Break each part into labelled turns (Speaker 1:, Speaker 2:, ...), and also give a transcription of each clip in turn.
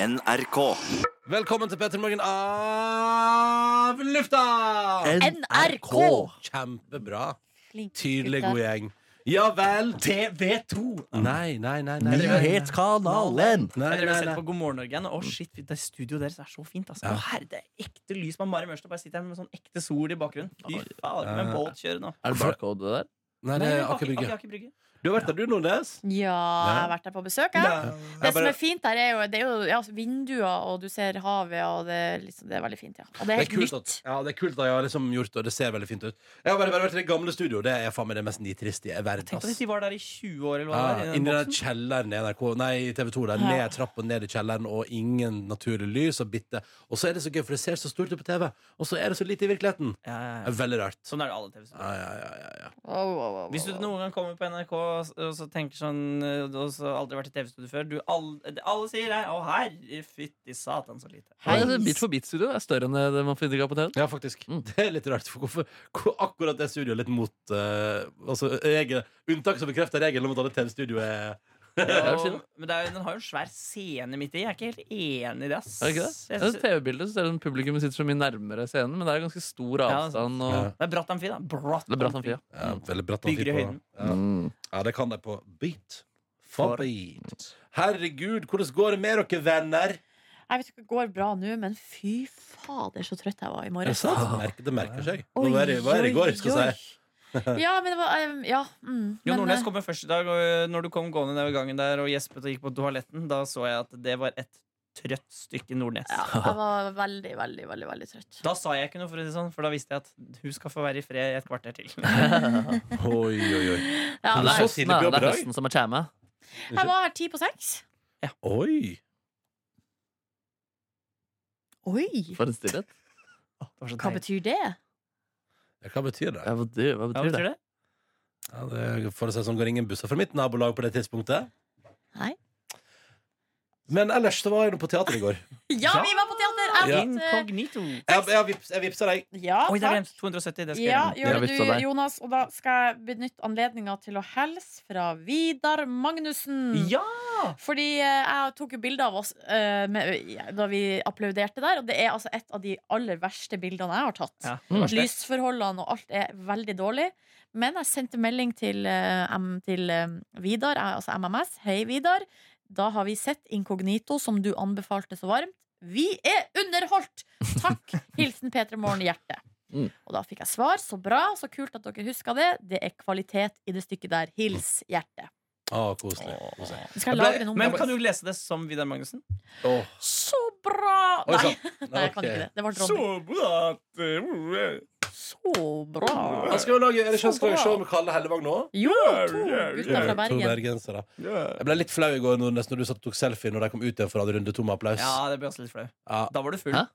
Speaker 1: NRK.
Speaker 2: Velkommen til Petter Morgen av lufta!
Speaker 3: NRK!
Speaker 2: Kjempebra.
Speaker 3: Flink
Speaker 2: Tydelig
Speaker 3: gutter.
Speaker 2: god gjeng. Ja vel.
Speaker 4: TV2!
Speaker 2: Nei, nei, nei. nei, nei.
Speaker 4: Nyhetskanalen!
Speaker 2: Nei,
Speaker 5: Jeg drev og
Speaker 2: nei,
Speaker 5: sett
Speaker 2: nei.
Speaker 5: på God morgen Norge igjen. og Å, shit, det studioet deres er så fint. Altså.
Speaker 2: Ja.
Speaker 5: Å, herre, det er ekte lys med Mari Mørstad. Bare sitter her med sånn ekte sol i bakgrunnen. Fy faen, med en båt kjører nå.
Speaker 4: Er det barcode det der?
Speaker 2: nei, det er Aker Brygge.
Speaker 5: Aker Brygge.
Speaker 2: Du har vært der, du, Nordnes?
Speaker 3: Ja, jeg har vært der på besøk. Jeg. Det
Speaker 2: Jeg
Speaker 3: som
Speaker 2: bare-
Speaker 3: er fint der, er jo, det er jo ja, altså, vinduer, og du ser havet, og det, er liksom, det er veldig fint. ja Og det er
Speaker 2: Det er
Speaker 3: helt
Speaker 2: kult
Speaker 3: nytt.
Speaker 2: at, ja, det er kult at jeg har liksom gjort det, og det ser veldig fint ut. Jeg har bare, bare vært i det gamle studioet. Det er faen meg det mest nitriste i verden.
Speaker 5: Tenk på
Speaker 2: ass.
Speaker 5: at de var der i 20 år, eller hva
Speaker 2: Ja,
Speaker 5: det var. i
Speaker 2: inni
Speaker 5: den
Speaker 2: den
Speaker 5: boksen.
Speaker 2: kjelleren i NRK Nei, TV 2 der,
Speaker 3: Ja.
Speaker 2: ned trappa, ned i kjelleren Og ingen naturlig lys og bitte Og så er det så gøy, for det ser så stort ut på TV Og så er det så lite i virkeligheten
Speaker 5: Ja, ja,
Speaker 2: Det
Speaker 5: ja.
Speaker 2: er Veldig rart
Speaker 5: Sånn er det alle TV-serier.
Speaker 2: ja, ja, ja, ja, ja.
Speaker 3: Wow, wow, wow, wow.
Speaker 5: Hvis du noen gang kommer på NRK og og så tenker sånn eh, Og så aldri vært i TV-studio før du, alle, alle sier det. Å, herre fytti satan, så lite.
Speaker 3: Hei.
Speaker 4: Nei, det er Altså, Bit for bit-studio er større enn det man finner ikke på TV.
Speaker 2: Ja, faktisk.
Speaker 4: Mm.
Speaker 2: Det er litt rart. For hvorfor, hvor akkurat det studioet er litt mot eh, altså, regel, Unntak som bekrefter regelen om at alle TV-studio er
Speaker 4: vil si
Speaker 5: Og,
Speaker 4: det.
Speaker 5: men det er, jo- den har jo en svær scene midt i. Jeg er ikke helt enig i det, ass.
Speaker 4: Er det ikke det?
Speaker 5: Jeg
Speaker 4: Det er
Speaker 5: synes-
Speaker 4: et TV-bilde, så ser du publikum sitter så mye nærmere scenen, men det er ganske stor
Speaker 5: Ja, sånn.
Speaker 4: avstand. Og...
Speaker 2: sant.
Speaker 5: Det er bratt amfi, da. Bratt
Speaker 4: Det er bra som fia.
Speaker 2: ja, Veldig bratt
Speaker 5: Bygger i
Speaker 2: antikk på-
Speaker 5: høyden.
Speaker 2: Ja.
Speaker 4: Mm.
Speaker 2: ja, det kan de på beat. For beat. Herregud, hvordan går det med dere, venner?
Speaker 3: Jeg vet ikke om det går bra nå, men fy fader, så trøtt jeg var i
Speaker 2: Er det
Speaker 3: morges.
Speaker 2: sant? Merker- Det merker seg.
Speaker 3: Oi,
Speaker 2: Nå var det, var det i går,
Speaker 3: oi,
Speaker 2: skal jeg si.
Speaker 3: oi. Ja, men det var um, Ja. Mm,
Speaker 5: Jon
Speaker 3: men,
Speaker 5: Nordnes
Speaker 3: eh,
Speaker 5: kom jo først i dag, og eh, når du kom gående nedover gangen der og gjespet og gikk på toaletten, da så jeg at det var et trøtt stykke Nordnes.
Speaker 3: eh, ja, jeg var veldig, veldig, veldig veldig trøtt.
Speaker 5: Da sa jeg ikke noe, for å si det sånn, for da visste jeg at hun skal få være i fred i et kvarter til.
Speaker 2: Oi, oi, oi.
Speaker 3: Ja,
Speaker 4: Men
Speaker 2: så
Speaker 4: det er
Speaker 3: nei,
Speaker 2: tidlig
Speaker 4: høsten,
Speaker 2: på
Speaker 4: da. det
Speaker 2: jobb i
Speaker 4: er
Speaker 2: dag.
Speaker 4: høsten som er tjæme.
Speaker 3: jeg var her ti på seks.
Speaker 2: Oi.
Speaker 3: Oi!
Speaker 4: For en stillhet.
Speaker 3: Hva betyr det?
Speaker 2: Ja, Hva betyr det?
Speaker 4: Ja, hva, det, hva
Speaker 5: Hva
Speaker 4: betyr
Speaker 5: betyr
Speaker 4: det?
Speaker 5: det?
Speaker 2: Ja, det for å si det sånn, går ingen busser fra mitt nabolag på det tidspunktet.
Speaker 3: Nei.
Speaker 2: Men ellers så var jeg nå på teater i går.
Speaker 3: Ja, vi var på teater! Jeg måtte,
Speaker 5: Incognito.
Speaker 2: Jeg, jeg, vips, jeg vipsa deg.
Speaker 3: ja,
Speaker 5: Oi, det er
Speaker 3: takk.
Speaker 5: glemt. 270. Det skal
Speaker 3: Ja,
Speaker 5: jeg gjøre.
Speaker 3: gjør
Speaker 4: Jeg
Speaker 3: det
Speaker 4: bytter
Speaker 3: du,
Speaker 4: deg.
Speaker 3: Jonas. Og da skal jeg benytte anledninga til å hilse fra Vidar Magnussen.
Speaker 5: Ja!
Speaker 3: Fordi eh, jeg tok jo bilde av oss eh, med, da vi applauderte der, og det er altså et av de aller verste bildene jeg har tatt.
Speaker 5: ja.
Speaker 4: Mm.
Speaker 5: det var det.
Speaker 3: Lysforholdene og alt er veldig dårlig. Men jeg sendte melding til, eh, M, til eh, Vidar, eh, altså MMS. Hei, Vidar. Da har vi sett Inkognito, som du anbefalte så varmt. Vi er underholdt! Takk! Hilsen P3 Morgen Hjerte.
Speaker 4: Mm.
Speaker 3: Og da fikk jeg svar. Så bra, så kult at dere huska det. Det er kvalitet i det stykket der. Hils Hjerte.
Speaker 2: Å, koselig. koselig.
Speaker 3: Nå Skal
Speaker 2: Jeg
Speaker 3: jeg
Speaker 2: ble-
Speaker 3: lagre en
Speaker 5: Men kan
Speaker 3: omgang?
Speaker 5: du lese det som Vidar Magnussen?
Speaker 2: Åh.
Speaker 3: Så bra!
Speaker 2: Oi,
Speaker 3: Nei,
Speaker 2: sant.
Speaker 3: nei, jeg kan
Speaker 2: Ok.
Speaker 3: ikke det. Det var Ronny.
Speaker 5: bra at eh,
Speaker 3: Så bra!
Speaker 2: Han skal jo lage, er det ikke han skal lage
Speaker 3: Så bra.
Speaker 2: show med Kalle Hellevang nå?
Speaker 3: Jo, to gutter fra
Speaker 2: Eh, To
Speaker 3: Bergen.
Speaker 2: bergensere.
Speaker 5: yeah.
Speaker 2: Jeg ble litt flau i går Nordnes, når du satt og tok selfie når de kom ut igjen for å ha runde to med applaus.
Speaker 5: Ja, det ble også litt flau.
Speaker 2: Ja.
Speaker 5: Da var du full.
Speaker 4: Hæ?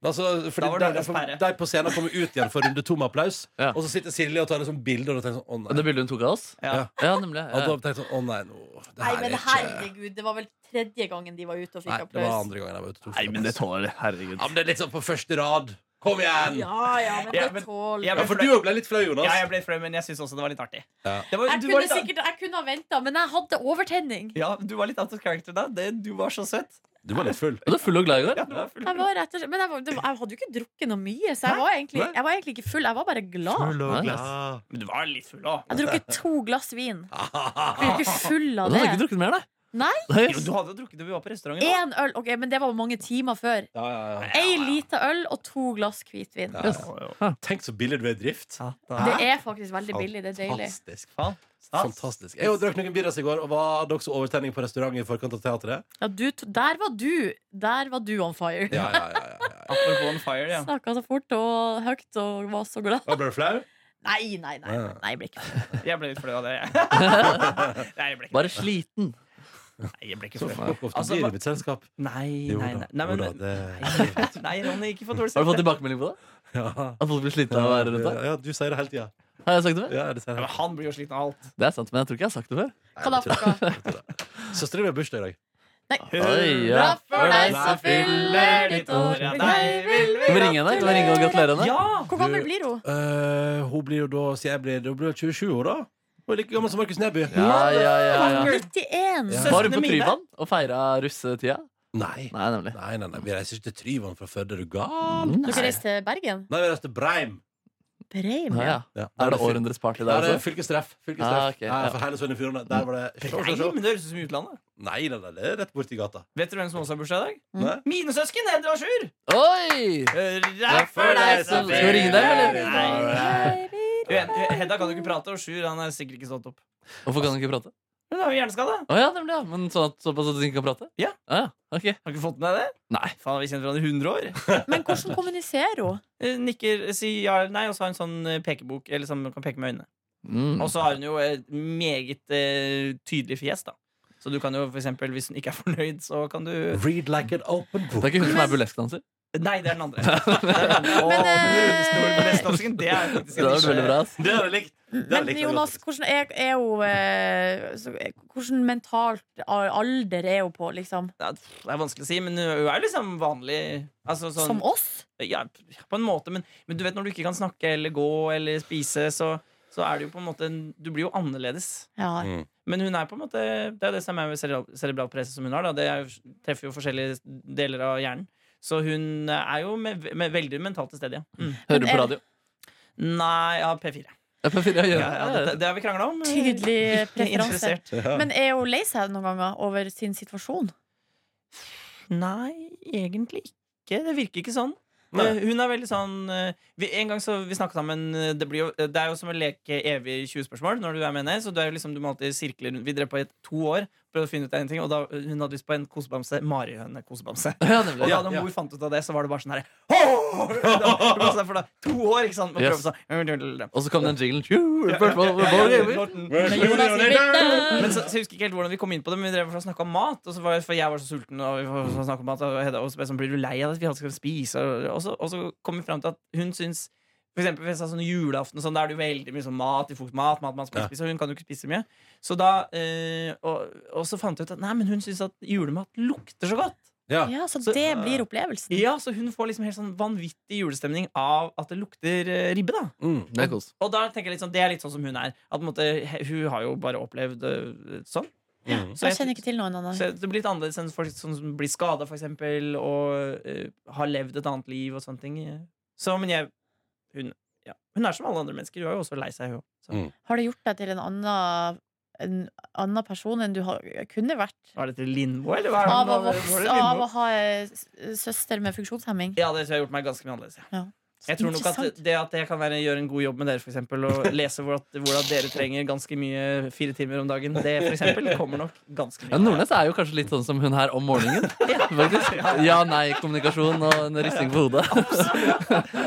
Speaker 2: Altså, fordi
Speaker 5: Da var
Speaker 2: de,
Speaker 5: det Nordnes
Speaker 2: de,
Speaker 5: pære.
Speaker 2: de på scenen kommer ut igjen for runde to med applaus,
Speaker 4: Ja.
Speaker 2: og så sitter Silje og tar liksom bilder og da tenker jeg sånn, å
Speaker 4: Det
Speaker 2: nei.
Speaker 4: bildet hun tok av oss?
Speaker 5: Ja.
Speaker 2: Ja.
Speaker 4: Ja, nemlig.
Speaker 2: Og da
Speaker 4: Ja.
Speaker 2: tenkte jeg sånn, å nei, nå, det
Speaker 3: Nei,
Speaker 2: her er
Speaker 3: men
Speaker 2: ikke
Speaker 3: herregud, det var vel tredje gangen de var ute og fikk
Speaker 2: Nei, det var
Speaker 3: applaus.
Speaker 2: andre gangen jeg var ute og tok
Speaker 4: Nei, men det
Speaker 2: applaus.
Speaker 4: tåler det. Herregud.
Speaker 2: Ja, men det er litt sånn på første rad. Kom igjen!
Speaker 3: Ja, ja, men
Speaker 5: Ja,
Speaker 3: det
Speaker 5: men-
Speaker 3: tål
Speaker 5: ja,
Speaker 2: Ja,
Speaker 5: men-
Speaker 2: for du òg ble litt flau, Jonas.
Speaker 5: Ja, jeg ble flau, men jeg syns også det var litt artig.
Speaker 2: Ja.
Speaker 5: Det var,
Speaker 3: Jeg
Speaker 5: du, var
Speaker 3: kunne
Speaker 5: litt,
Speaker 3: sikkert jeg kunne ha venta, men jeg hadde overtenning.
Speaker 5: ja, du var litt out of character da. Det, du var så søt.
Speaker 2: Du var litt full.
Speaker 4: Du er full og glad i går.
Speaker 5: Ja, du var full.
Speaker 3: Jeg var rett og slett, men jeg, var, det var- jeg hadde jo ikke drukket noe mye, så jeg var egentlig, jeg var egentlig ikke full. Jeg var bare glad.
Speaker 4: Nei,
Speaker 5: Men du var litt full òg.
Speaker 3: Jeg drukket to glass vin. Jeg Blir jo ikke full av
Speaker 4: Du har ikke
Speaker 3: det.
Speaker 4: drukket mer, da?
Speaker 3: Nei.
Speaker 5: Jo, du hadde jo drukket da vi var på restauranten. da.
Speaker 3: Én øl, ok, men det var mange timer før.
Speaker 2: Ja, ja, ja.
Speaker 3: Ei lita øl og to glass hvitvin.
Speaker 2: Ja.
Speaker 3: Det
Speaker 5: Ja, ja, ja.
Speaker 2: Tenk så billig du er i drift.
Speaker 5: Satan.
Speaker 3: er faktisk veldig billig. Det er deilig.
Speaker 2: Fantastisk.
Speaker 5: Faen.
Speaker 2: Fantastisk. Jeg drakk noen birras i går, og var det også overtenning på restaurant i forkant av teatret?
Speaker 3: Ja, du, to- der var du. Der var du on fire.
Speaker 2: Ja, ja, ja, ja, ja.
Speaker 5: Apropos on fire, ja.
Speaker 3: Snakka så fort og høyt og var så glad.
Speaker 2: Og Ble du flau?
Speaker 3: Nei, nei, nei.
Speaker 2: Ja.
Speaker 3: nei jeg ble ikke.
Speaker 5: Jeg ble litt flau av det, jeg. Nei, jeg ble ikke,
Speaker 4: Bare sliten.
Speaker 5: nei, jeg ble ikke
Speaker 2: Så
Speaker 5: flau.
Speaker 2: fuck off, du
Speaker 5: Altså,
Speaker 2: blir
Speaker 5: hva-
Speaker 2: i mitt selskap.
Speaker 5: Nei,
Speaker 2: Jo
Speaker 5: nei,
Speaker 2: da,
Speaker 5: nei. Nei, men,
Speaker 2: jo da, det-
Speaker 5: nei, nei Ronny, ikke for dårlig
Speaker 4: Har du fått
Speaker 5: selvtillit.
Speaker 4: tilbakemelding på det?
Speaker 2: Ja.
Speaker 4: At folk blir slitne av å være rundt deg?
Speaker 2: Ja, du sier det hele tida.
Speaker 4: Har jeg sagt det før?
Speaker 2: Ja, det sier
Speaker 5: Ja,
Speaker 2: jeg
Speaker 5: men Han blir jo sliten av alt.
Speaker 4: Det er sant, men jeg tror ikke jeg har sagt det før.
Speaker 3: Hva da, fucka?
Speaker 2: Søstera mi har bursdag i dag.
Speaker 4: Oi, ja.
Speaker 3: Bra for deg som fyller ditt år.
Speaker 5: Ja, deg vil vi
Speaker 4: Skal vi ringe henne? Kan vi ringe og gratulere henne?
Speaker 5: Ja!
Speaker 3: Hvor gammel blir hun?
Speaker 2: Eh, hun blir jo da sier jeg blir, hun blir 27 år, da. Hun er like gammel som Markus Neby.
Speaker 4: Ja, ja, ja, ja.
Speaker 3: 91.
Speaker 4: Var hun på Tryvann og feira russetida?
Speaker 2: Nei.
Speaker 4: Nei, nemlig.
Speaker 2: Nei, nei, nei, vi reiser ikke til Tryvann fra Førde, er du gal?
Speaker 4: Mm.
Speaker 3: Dere reiste til Bergen?
Speaker 2: Nei, vi reiser til Breim.
Speaker 3: Breim,
Speaker 4: Nei,
Speaker 3: ja.
Speaker 4: ja.
Speaker 2: Ja.
Speaker 4: Er det århundrets party
Speaker 2: Nei,
Speaker 4: der
Speaker 2: det er
Speaker 4: også?
Speaker 2: fylkestreff. fylkestreff.
Speaker 4: Ah, ok,
Speaker 2: Nei,
Speaker 4: ja.
Speaker 2: for hele Sogn og Fjordane. Der var det se, se,
Speaker 5: Nei,
Speaker 2: se.
Speaker 5: men det høres ut som utlandet.
Speaker 2: Nei, nei, nei, det er rett borti gata.
Speaker 5: Vet du hvem som også har bursdag i dag?
Speaker 3: Mm.
Speaker 2: Nei?
Speaker 5: Mine søsken, Edvard og Sjur!
Speaker 4: Oi!
Speaker 5: Hurra
Speaker 4: for deg
Speaker 5: som
Speaker 4: som- Skal vi ringe dem, eller?
Speaker 5: Nei.
Speaker 3: Baby.
Speaker 5: Uen- Hedda kan jo ikke prate, og Sjur han er sikkert ikke stått opp.
Speaker 4: Hvorfor kan du ikke prate?
Speaker 5: Hun har jo hjerneskade.
Speaker 4: Å ja, nemlig. ja Men sånn at, Såpass at du ikke kan prate?
Speaker 5: Ja.
Speaker 4: Ah, ja. ok.
Speaker 5: Har du ikke fått med deg det?
Speaker 4: Nei.
Speaker 5: Faen, har vi kjent hverandre i 100 år?
Speaker 3: Men hvordan kommuniserer hun?
Speaker 5: Eh, Nikker, sier ja eller nei, og så har hun sånn eh, pekebok. Eller sånn man kan peke med øynene
Speaker 4: Mm.
Speaker 5: Og så har hun jo et meget eh, tydelig fjes, da. Så du kan jo for eksempel, hvis hun ikke er fornøyd, så kan du
Speaker 2: Read like an open
Speaker 4: Det er ikke hun som er burleskdanser?
Speaker 5: Nei, det er den andre. Det er den andre. Å,
Speaker 3: Men,
Speaker 5: den
Speaker 3: eh,
Speaker 5: burleskdansken, Det er faktisk
Speaker 4: Det
Speaker 5: en
Speaker 4: var veldig bra.
Speaker 5: nisje.
Speaker 4: ass.
Speaker 2: Det har jeg likt. Det er
Speaker 3: Men
Speaker 2: litt
Speaker 3: Jonas,
Speaker 2: annerledes.
Speaker 3: hvordan er, er hun eh, så, eh, Hvordan mentalt al- alder er hun på, liksom?
Speaker 5: Ja, pff, Det er vanskelig å si, men hun er jo liksom vanlig. Altså, sånn,
Speaker 3: Som oss?
Speaker 5: ja, på en måte, men, men du vet når du ikke kan snakke eller gå eller spise, så, så er det jo på en måte en- Du blir jo annerledes.
Speaker 3: Ja.
Speaker 2: Mm.
Speaker 5: Men hun er på en måte Det er jo det som er med cerebral, cerebral presse som hun har. Da. Det er jo, treffer jo forskjellige deler av hjernen. Så hun er jo med, med veldig mentalt til stede, ja. Mm.
Speaker 4: Hører du
Speaker 3: er-
Speaker 4: på radio?
Speaker 5: Nei, ja, P4.
Speaker 4: Ja, på fire, ja,
Speaker 5: Ja,
Speaker 4: ja.
Speaker 5: ja, det, det har vi krangla om. eh,
Speaker 3: Tydelig
Speaker 5: Ikke
Speaker 3: preferanse.
Speaker 5: interessert.
Speaker 2: Ja.
Speaker 3: Men er hun lei seg noen ganger over sin situasjon?
Speaker 5: Nei, egentlig ikke. Det virker ikke sånn.
Speaker 2: Nei.
Speaker 5: Eh, Hun er veldig sånn eh, vi, En gang så vi snakket sammen eh, det, blir jo, det er jo som å leke evig 20-spørsmål når du er med henne. Så du, er jo liksom, du må alltid sirkle rundt. Vi drev på i to år, prøvde å finne ut en ting, og da, eh, hun hadde lyst på en kosebamse. Marihøne-kosebamse.
Speaker 4: Ja,
Speaker 5: Og
Speaker 4: nemlig.
Speaker 5: da
Speaker 2: Ja,
Speaker 5: når
Speaker 2: ja.
Speaker 5: mor fant ut av det, så var det bare sånn herre For da, to år, ikke sant? Man prøver
Speaker 4: Yes.
Speaker 5: sånn
Speaker 4: Og så kom den jinglen. Tju,
Speaker 5: Ja,
Speaker 4: Spørsmål
Speaker 5: ja, ja,
Speaker 4: hvor
Speaker 5: ja,
Speaker 4: gamer?
Speaker 5: Morten.
Speaker 2: Where's
Speaker 3: Men
Speaker 2: the
Speaker 3: Jonas
Speaker 2: Leonardo?
Speaker 3: sier bitte!
Speaker 5: Men så, så jeg husker ikke helt hvordan vi kom inn på det, men vi drev og snakka om mat. Og så var, for jeg var så sulten, og vi var- så snakket om mat Og Hedda også ble sånn, blir du lei av at vi alltid skal spise? Og, og, så, og så kom vi fram til at hun syns for eksempel, hvis det er sånn julaften, og sånn, da er det jo veldig mye sånn mat i fokus. Mat, mat, mat,
Speaker 2: Ja.
Speaker 5: spise, spise, og hun kan jo ikke spise så mye. Så da, eh, og, og så fant jeg ut at nei, men hun syns at julemat lukter så godt.
Speaker 2: Ja.
Speaker 3: Ja, så
Speaker 5: Så-
Speaker 3: det blir opplevelsen.
Speaker 5: Ja, Så hun får liksom helt sånn vanvittig julestemning av at det lukter eh, ribbe. da
Speaker 2: Mm.
Speaker 4: Det er kos.
Speaker 5: Og da tenker jeg litt sånn, det er litt sånn som hun er. At på en måte, he- Hun har jo bare opplevd eh, sånn.
Speaker 2: Mm.
Speaker 3: Jeg
Speaker 5: Så jeg-
Speaker 3: kjenner ikke til noen annen.
Speaker 5: Så det blir litt annerledes enn folk sånn som blir skada, for eksempel, og eh, har levd et annet liv og sånne ting. Så, men jeg Hun, ja, hun er som alle andre mennesker. Hun er jo også lei seg, hun òg.
Speaker 2: Mm.
Speaker 3: Har det gjort deg til en annen, en annen person enn du har, kunne vært?
Speaker 5: Var dette Lindmo, eller? Hva er det
Speaker 3: Av å
Speaker 5: nå? Var
Speaker 3: vokse
Speaker 5: det
Speaker 3: Av
Speaker 5: Lindmo?
Speaker 3: å ha eh, s- søster med funksjonshemming?
Speaker 5: Ja, det tror jeg har gjort meg ganske mye annerledes. Ja. Jeg tror nok at
Speaker 3: Interessant.
Speaker 5: det at jeg kan være, gjøre en god jobb med dere, for eksempel, og lese hvordan, hvordan dere trenger ganske mye fire timer om dagen, det for eksempel, kommer nok ganske
Speaker 4: Ja,
Speaker 5: mye.
Speaker 4: Nordnes er jo kanskje litt sånn som hun her om morgenen. Faktisk. Ja-nei-kommunikasjon og en risting på hodet.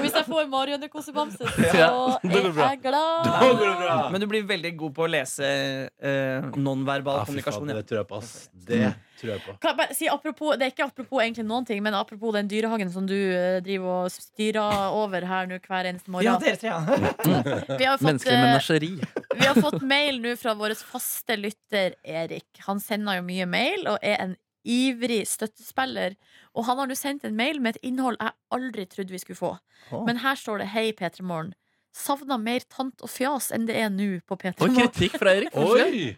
Speaker 3: Hvis jeg får Marianne-kosebamse,
Speaker 4: Ja.
Speaker 3: så
Speaker 2: Det går
Speaker 3: er
Speaker 2: bra.
Speaker 3: jeg glad.
Speaker 2: Da går det bra!
Speaker 5: Men du blir veldig god på å lese eh, nonverbal
Speaker 2: Ja, fy faen,
Speaker 5: kommunikasjon. Ja.
Speaker 2: det tror jeg på, ass. Det tror jeg på.
Speaker 3: Kan jeg bare si apropos, det er ikke apropos egentlig noen ting, men apropos den dyrehagen som du eh, driver og styrer over her nå hver eneste
Speaker 5: ja,
Speaker 3: morgen.
Speaker 5: dere tre, ja.
Speaker 3: Vi har fått,
Speaker 4: Menneskelig
Speaker 3: eh,
Speaker 4: menasjeri.
Speaker 3: vi har fått mail nå fra vår faste lytter Erik. Han sender jo mye mail og er en ivrig støttespiller. Og han har nå sendt en mail med et innhold jeg aldri trodde vi skulle få.
Speaker 5: Åh.
Speaker 3: Men her står det 'Hei, P3morgen'. Savna mer tant og fjas enn det er nå på
Speaker 4: Og
Speaker 3: P3morgen.
Speaker 4: kritikk fra Erik. Oi.
Speaker 2: Oi!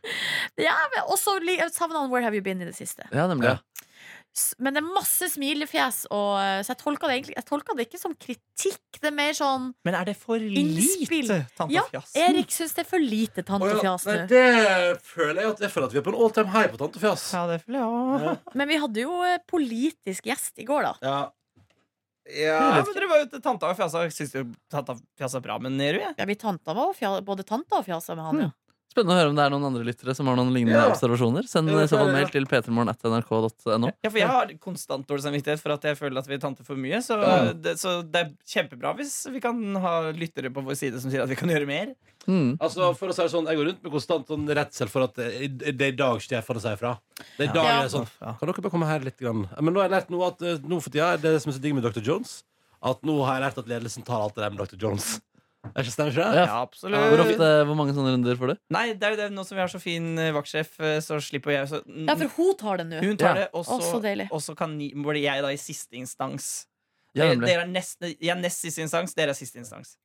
Speaker 3: Ja, men også li- savna han 'Where Have You Been' i det siste.
Speaker 4: Ja, nemlig. ja.
Speaker 3: S- Men det er masse smilefjes, og, eh, så jeg tolka, det egentlig, jeg tolka det ikke som kritikk. Det er mer sånn
Speaker 5: Men er det for
Speaker 3: Innspill.
Speaker 5: lite, tante
Speaker 3: Ja,
Speaker 5: Fjass?
Speaker 3: Erik syns det er for lite tante
Speaker 2: Å, ja.
Speaker 3: fjas
Speaker 2: Nei,
Speaker 3: nå.
Speaker 2: det føler jeg at jeg føler at vi er på en all time high på Tante Fjas.
Speaker 5: Ja, det føler jeg òg.
Speaker 3: Men vi hadde jo eh, politisk gjest i går, da.
Speaker 2: Ja.
Speaker 5: Ja, men dere var jo til tanta og fjasa. Syns jo tanta fjasa bra med Nero, jeg.
Speaker 3: Ja, vi tanta var og fja- både tanta og fjasa med han,
Speaker 2: Mm.
Speaker 3: ja.
Speaker 4: Spennende å høre om det er noen andre lyttere som har noen lignende
Speaker 2: Ja.
Speaker 4: observasjoner. Send
Speaker 2: Ja,
Speaker 4: i
Speaker 2: det
Speaker 4: så
Speaker 2: er
Speaker 4: fall
Speaker 2: det,
Speaker 4: mail til p3morgen.nrk.no.
Speaker 5: Ja, for jeg har konstant dårlig samvittighet for at jeg føler at vi tanter for mye. Så,
Speaker 4: Ja.
Speaker 5: det, så det er kjempebra hvis vi kan ha lyttere på vår side som sier at vi kan gjøre mer.
Speaker 4: Mm.
Speaker 2: Altså, for å si det sånn, Jeg går rundt med konstant sånn redsel for at eh, det er i dag Stefan sier fra. Det er i dag
Speaker 3: Ja.
Speaker 2: det er sånn Kan dere bare komme her litt? Grann? Men nå har jeg lært noe at eh, nå for tida er det som er så digg med Dr. Jones, at nå har jeg lært at ledelsen tar alt det der med Dr. Jones. Er ikke stemmer ikke det?
Speaker 4: Ja.
Speaker 5: Ja, absolutt.
Speaker 4: Hvor, ofte, hvor mange sånne runder får du?
Speaker 5: Nei, det er jo det. Nå som vi har så fin eh, vaktsjef, eh, så slipper jeg så,
Speaker 3: Ja, for hun tar det nå.
Speaker 5: Hun tar
Speaker 4: Ja.
Speaker 5: det, og
Speaker 3: Å, så
Speaker 5: så,
Speaker 3: deilig.
Speaker 5: og så kan ni- blir jeg da i siste instans.
Speaker 4: Ja,
Speaker 5: Dere,
Speaker 4: nemlig.
Speaker 5: dere er nest, jeg er nest siste instans, dere er siste instans.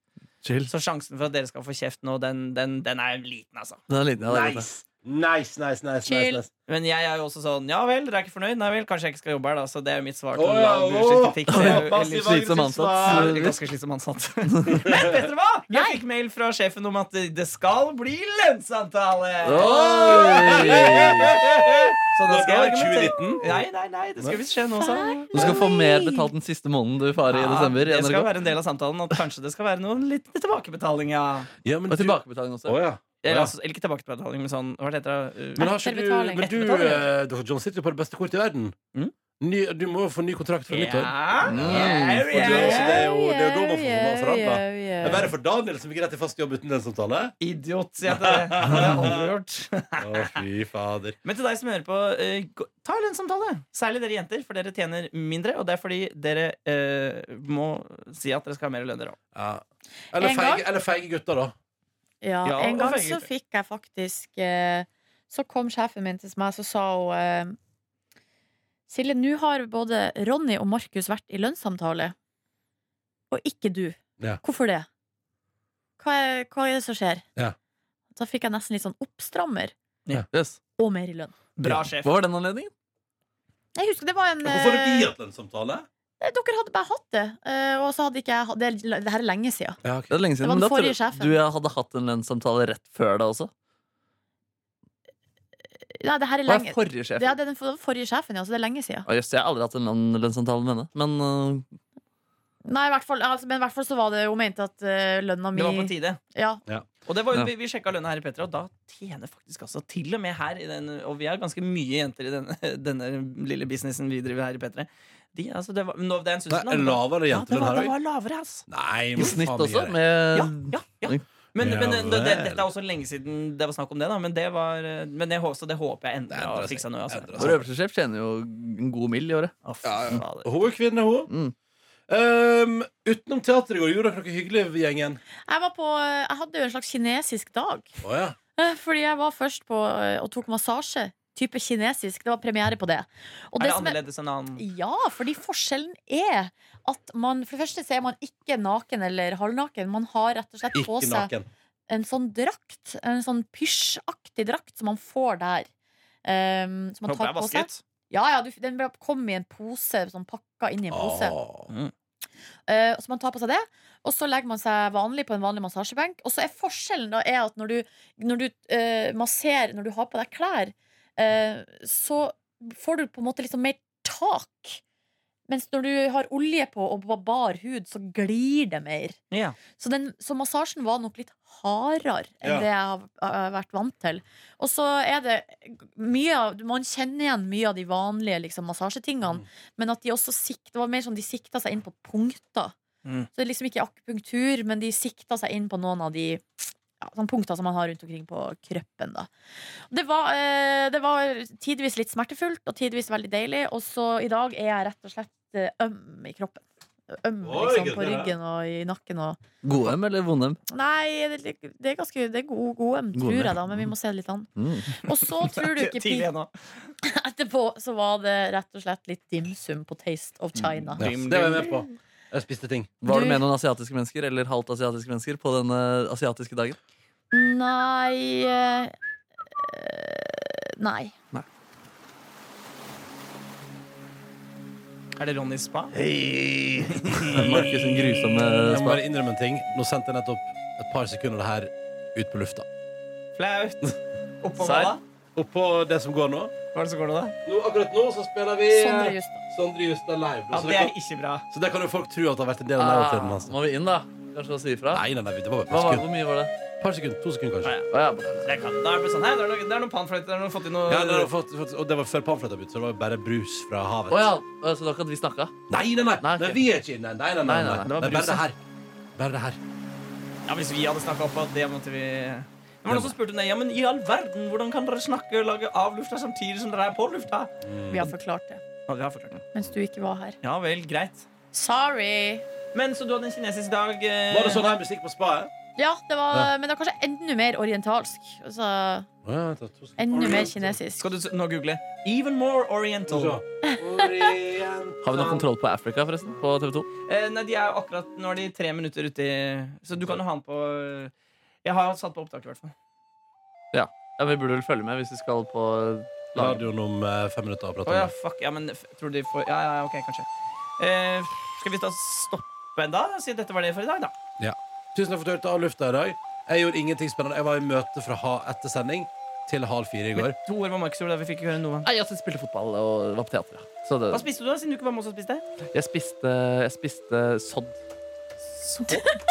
Speaker 4: Chill.
Speaker 5: Så sjansen for at dere skal få kjeft nå, den, den, den er liten, altså.
Speaker 4: Den er liten, ja, det er liten.
Speaker 2: Nice! Nice, nice, nice. nice,
Speaker 3: Chill.
Speaker 2: nice.
Speaker 5: Men jeg er jo også sånn Ja vel, dere er ikke fornøyd? Nei vel, kanskje jeg ikke skal jobbe her, da. Så det er jo mitt svar til
Speaker 2: Å,
Speaker 5: oh,
Speaker 2: ja, å,
Speaker 5: bullshit-kritikk. Det er jo
Speaker 2: Massiv
Speaker 5: litt-
Speaker 4: slitsom
Speaker 2: aggressivt
Speaker 4: ansatt.
Speaker 5: Ja,
Speaker 2: svar.
Speaker 5: det er Ganske slitsom ansatt. Men vet dere hva? Jeg fikk mail fra sjefen om at det skal bli lønnsavtale!
Speaker 4: Oi!
Speaker 5: Så da skal jeg
Speaker 2: Nå er det
Speaker 5: argumentere.
Speaker 2: 2019.
Speaker 5: Nei, nei, nei, det skal visst skje nå, sa han.
Speaker 4: Du skal få mer betalt den siste måneden du farer i
Speaker 5: Ja,
Speaker 4: desember. i
Speaker 5: det skal
Speaker 4: NRK.
Speaker 5: være en del av samtalen at kanskje det skal være noe litt tilbakebetaling, ja.
Speaker 2: Ja, men
Speaker 4: Og
Speaker 2: du-
Speaker 4: tilbakebetaling også.
Speaker 2: Å, ja.
Speaker 5: Eller,
Speaker 2: Ja.
Speaker 5: altså, eller ikke tilbakebetaling, men sånn Hva heter det? Uh,
Speaker 2: Men har ikke du,
Speaker 3: Etterbetaling.
Speaker 2: men du
Speaker 5: Etterbetaling,
Speaker 2: eh, Dr. John sitter jo på det beste kortet i verden.
Speaker 5: Mm.
Speaker 2: Ny, du må jo få ny kontrakt fra nyttår.
Speaker 5: Ja.
Speaker 4: Mm.
Speaker 5: Yeah,
Speaker 2: Og du,
Speaker 5: yeah.
Speaker 2: altså, det er jo det er jo da man får man
Speaker 3: Yeah,
Speaker 2: får forandra.
Speaker 3: yeah, yeah.
Speaker 2: Det er verre for Daniel, som fikk rett til fast jobb uten lønnsavtale.
Speaker 5: Idiot, sier jeg til deg. Det har jeg aldri gjort.
Speaker 2: Å, fy fader.
Speaker 5: Men til deg som hører på, eh, gå- ta en lønnssamtale. Særlig dere jenter, for dere tjener mindre. Og det er fordi dere eh, må si at dere skal ha mer lønner òg.
Speaker 2: Ja. Eller,
Speaker 3: En gang.
Speaker 2: feige, eller feige gutter, da.
Speaker 3: Ja,
Speaker 5: Ja,
Speaker 3: en
Speaker 5: og
Speaker 3: gang
Speaker 5: fenger.
Speaker 3: så fikk jeg faktisk eh, Så kom sjefen min til meg, så sa hun eh, Silje, nå har både Ronny og Markus vært i lønnssamtale, og ikke du.
Speaker 2: Ja.
Speaker 3: Hvorfor det? Hva er, hva er det som skjer?
Speaker 2: Ja.
Speaker 3: Da fikk jeg nesten litt sånn oppstrammer,
Speaker 4: Yes.
Speaker 3: og mer i lønn.
Speaker 5: Bra sjef.
Speaker 4: Hva var den anledningen?
Speaker 3: Jeg husker det var en
Speaker 2: Hvorfor har
Speaker 3: eh,
Speaker 2: vi hatt lønnssamtale?
Speaker 3: Nei, Eh, Dere hadde bare hatt det, eh, og så hadde ikke jeg hatt det. Det her er lenge siden.
Speaker 2: Ja,
Speaker 4: Det er lenge
Speaker 3: Det var den
Speaker 4: siden. men da tror
Speaker 3: forrige
Speaker 4: jeg
Speaker 3: sjefen.
Speaker 4: Du jeg hadde hatt en lønnssamtale rett før det også.
Speaker 3: Nei, det her er
Speaker 4: Hva er
Speaker 3: lenge
Speaker 4: forrige sjef?
Speaker 3: Ja, det er den for- forrige sjefen, ja, så det er lenge
Speaker 5: Ah,
Speaker 3: siden.
Speaker 4: Å, Jøss, jeg har aldri hatt en lønn- lønnssamtale med henne. Men øh,
Speaker 3: Nei, i hvert fall, altså, men i hvert fall så var det jo ment at eh, lønna mi
Speaker 5: Det var på tide.
Speaker 3: ja.
Speaker 5: Og det var, jo-
Speaker 4: Ja.
Speaker 5: vi, vi sjekka lønna her i Petra, og da tjener faktisk altså til og med her i den, Og vi er ganske mye jenter i denne, denne lille businessen vi driver her i Petra. De, altså, det, var, nå, det er en stund
Speaker 2: Nei,
Speaker 5: siden. da, men da-
Speaker 2: lavere
Speaker 5: ja, det
Speaker 2: jentelønn
Speaker 5: var,
Speaker 2: her
Speaker 5: det
Speaker 2: òg?
Speaker 5: var lavere, altså. ass.
Speaker 2: Nei,
Speaker 4: i
Speaker 2: men
Speaker 4: snitt
Speaker 2: faen, vi
Speaker 4: også.
Speaker 2: gjør det.
Speaker 4: Med,
Speaker 5: Ja, ja, ja. Men,
Speaker 2: Ja
Speaker 5: men det, det,
Speaker 2: vel.
Speaker 5: dette er også lenge siden det var snakk om det, da. Men det, var, eh, men jeg, hå- så det håper jeg
Speaker 2: Det
Speaker 5: endra
Speaker 2: endrer
Speaker 5: og
Speaker 2: seg.
Speaker 5: fiksa nå. Altså.
Speaker 2: Det endrer
Speaker 4: Vår øverste sjef tjener jo en god mill i året.
Speaker 5: Å, fy fader.
Speaker 2: Hun er kvinne, hun.
Speaker 4: Mm.
Speaker 2: Ehm, utenom teater i går, gjorde dere noe hyggelig, gjengen?
Speaker 3: Jeg var på eh, Jeg hadde jo en slags kinesisk dag.
Speaker 2: Å ja.
Speaker 3: Eh, Fordi jeg var først på eh, og tok massasje. Type kinesisk. Det var premiere på det. Og
Speaker 5: Er det
Speaker 3: som er-
Speaker 5: annerledes enn annen?
Speaker 3: Ja, fordi forskjellen er at man For det første så er man ikke naken eller halvnaken. Man har rett og slett på
Speaker 2: Ikke
Speaker 3: seg
Speaker 2: naken.
Speaker 3: en sånn drakt. En sånn pysjaktig drakt som man får der. Um, som man
Speaker 5: Håper
Speaker 3: tar
Speaker 5: jeg
Speaker 3: på seg.
Speaker 5: vasket.
Speaker 3: Ja, ja, du, den kom i en pose, sånn pakka inn i en pose.
Speaker 2: Åh.
Speaker 3: Eh, så man tar på seg det, og så legger man seg vanlig på en vanlig massasjebenk. Og så er forskjellen da er at når du, når du eh, masserer, når du har på deg klær, eh, så får du på en måte liksom mer tak. Mens når du har olje på og ba- bar hud, så glir det mer.
Speaker 5: Ja.
Speaker 3: Så, den, så massasjen var nok litt hardere enn
Speaker 2: Ja.
Speaker 3: det jeg har, har vært vant til. Og så er det mye av Man kjenner igjen mye av de vanlige liksom, massasjetingene,
Speaker 2: Mm.
Speaker 3: men at de også sikt, det var mer sånn de sikta seg inn på punkter.
Speaker 5: Mm.
Speaker 3: Så det er liksom ikke akupunktur, men de sikta seg inn på noen av de ja, sånne punkter som man har rundt omkring på kroppen. Da. Det var, eh, det var tidvis litt smertefullt, og tidvis veldig deilig. Og så i dag er jeg rett og slett eh, øm i kroppen. Øm
Speaker 2: Oi,
Speaker 3: liksom, på
Speaker 2: gutter.
Speaker 3: ryggen og i nakken og
Speaker 4: God M eller vond M?
Speaker 3: Nei, det, det er ganske Det er god, god øm,
Speaker 4: God
Speaker 3: tror
Speaker 4: øm.
Speaker 3: jeg, da, men vi må se det litt an.
Speaker 4: Mm.
Speaker 3: Og så tror du ikke
Speaker 5: Tidlig
Speaker 3: pi-
Speaker 5: ennå.
Speaker 3: Etterpå så var det rett og slett litt dimsum på Taste of China.
Speaker 2: Ja,
Speaker 5: Dim,
Speaker 2: det var jeg
Speaker 5: dim.
Speaker 2: med på. Jeg spiste ting.
Speaker 4: Var
Speaker 3: Du-
Speaker 4: du med noen asiatiske mennesker eller halvt asiatiske mennesker på denne asiatiske dagen?
Speaker 3: Nei eh, Nei.
Speaker 5: Er det Ronny Spa?
Speaker 4: Markus' sin sånn grusomme
Speaker 2: Jeg må
Speaker 4: spa.
Speaker 2: bare innrømme en ting. Nå sendte jeg nettopp et par sekunder av det her ut på lufta.
Speaker 5: Flaut. Oppå hva
Speaker 4: Serr?
Speaker 5: da?
Speaker 2: Oppå det som går nå.
Speaker 5: Hva er det som går nå, da?
Speaker 2: nå akkurat nå så spiller vi
Speaker 3: Sondre Justad.
Speaker 2: Sondre Justad live.
Speaker 5: Ja,
Speaker 2: så,
Speaker 5: det
Speaker 2: det
Speaker 5: er
Speaker 2: kan,
Speaker 5: ikke bra.
Speaker 2: så det kan jo folk tro at det har vært en del av
Speaker 4: Ah,
Speaker 2: livetimen hans.
Speaker 4: må vi inn, da? Kanskje å si ifra?
Speaker 2: Nei, nei, nei, det var bare et
Speaker 4: Hva
Speaker 2: par
Speaker 4: var, hvor
Speaker 2: sekunder.
Speaker 4: mye var det?
Speaker 2: Par sekunder, To sekunder, kanskje.
Speaker 5: Nei.
Speaker 4: Å, ja.
Speaker 5: Det kan. Da er det bare sånn, hei, det er noe- det er noen panfløyter, det er noe fått i noe
Speaker 2: Ja, det var fått, fått, og det var før pamfletta begynte, så det var bare brus fra havet.
Speaker 4: Å, ja. Å, Så da kan vi snakke?
Speaker 2: Nei, nei, nei,
Speaker 4: Nei, ok.
Speaker 2: nei, vi er ikke inne. Nei, nei, nei,
Speaker 4: Nei, nei,
Speaker 2: nei, Det er
Speaker 4: nei, det var
Speaker 2: bare
Speaker 4: bruset.
Speaker 2: det her. Bare det her.
Speaker 5: Ja, Hvis vi hadde snakka opp at det måtte vi Det var noen som spurte om det. Ja, men i all verden, hvordan kan dere snakke og lage av lufta samtidig som dere er på lufta?
Speaker 3: Vi har forklart det.
Speaker 5: Ja, vi har forklart det.
Speaker 3: Mens du ikke var her.
Speaker 5: Ja vel, greit.
Speaker 3: Sorry!
Speaker 5: Men så du hadde en kinesisk dag eh,
Speaker 2: Var det sånn her musikk på spaet?
Speaker 3: Ja, det var, men det var kanskje enda mer orientalsk. Altså,
Speaker 2: Ja, det var to sekunder.
Speaker 3: enda mer kinesisk.
Speaker 5: Skal du s- nå google 'Even more oriental'?
Speaker 4: Har vi noe
Speaker 2: Oriental.
Speaker 4: kontroll på Africa, forresten? På TV 2?
Speaker 5: Eh, nei, de er jo akkurat Nå er de tre minutter uti Så du kan jo ha den på Jeg har satt på opptak, i hvert fall.
Speaker 4: Ja, Vi burde vel følge med hvis vi skal på lag.
Speaker 2: Radioen om eh, fem minutter og prate
Speaker 5: Å ja,
Speaker 2: om det.
Speaker 5: fuck. Ja, men f- tror de får Ja, ja, ok, kanskje. Eh, skal vi da stoppe da? Si at dette var det for i dag, da.
Speaker 2: Tusen takk for at du hørte av lufta i dag. Jeg gjorde ingenting spennende. Jeg var i møte fra ha etter sending til halv fire i går.
Speaker 5: Med to år med Markus gjorde det, vi fikk ikke høre noe.
Speaker 4: Nei, jeg spilte fotball og var på teatret. Så det,
Speaker 5: Hva spiste du, da, siden du ikke var med oss og spiste?
Speaker 4: jeg, spiste, jeg spiste sodd.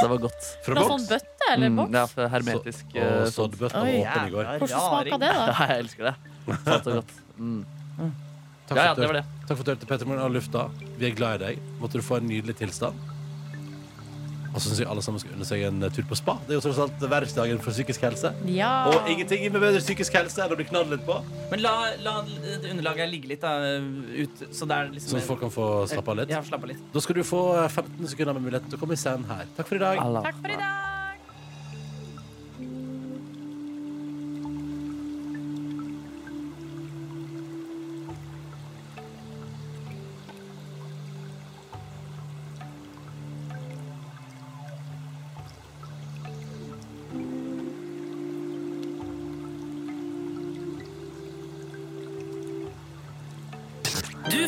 Speaker 4: Det var godt.
Speaker 2: Fra
Speaker 3: Noe sånn
Speaker 2: boks.
Speaker 3: bøtte eller boks?
Speaker 4: Mm, ja, for hermetisk
Speaker 2: Så-
Speaker 4: eh,
Speaker 2: Og
Speaker 4: sodd.
Speaker 2: soddbøtta var
Speaker 3: Oi,
Speaker 2: åpen i går.
Speaker 3: Hvordan smaker det, da?
Speaker 4: Ja, jeg elsker det. Salt og godt. Mm.
Speaker 2: Takk
Speaker 4: Ja,
Speaker 2: for
Speaker 4: ja,
Speaker 2: at du
Speaker 4: det var det.
Speaker 2: Takk for at du hørte Petter Morgen av lufta. Vi er glad i deg. Måtte du få en nydelig tilstand. Og så syns jeg alle sammen skal unne seg en eh, tur på spa. Det er jo tross alt verdensdagen for psykisk helse.
Speaker 3: Ja.
Speaker 2: Og ingenting med bedre psykisk helse enn å bli knallet litt på.
Speaker 5: Men la, la det underlaget ligge litt, da. Ut, så det er liksom
Speaker 2: Så folk kan få slappe av litt.
Speaker 5: Ja, slappe av litt.
Speaker 2: Da skal du få 15 sekunder med muligheten til å komme i scenen her. Takk for i dag.
Speaker 4: Allah.
Speaker 3: Takk for i dag.
Speaker 1: Du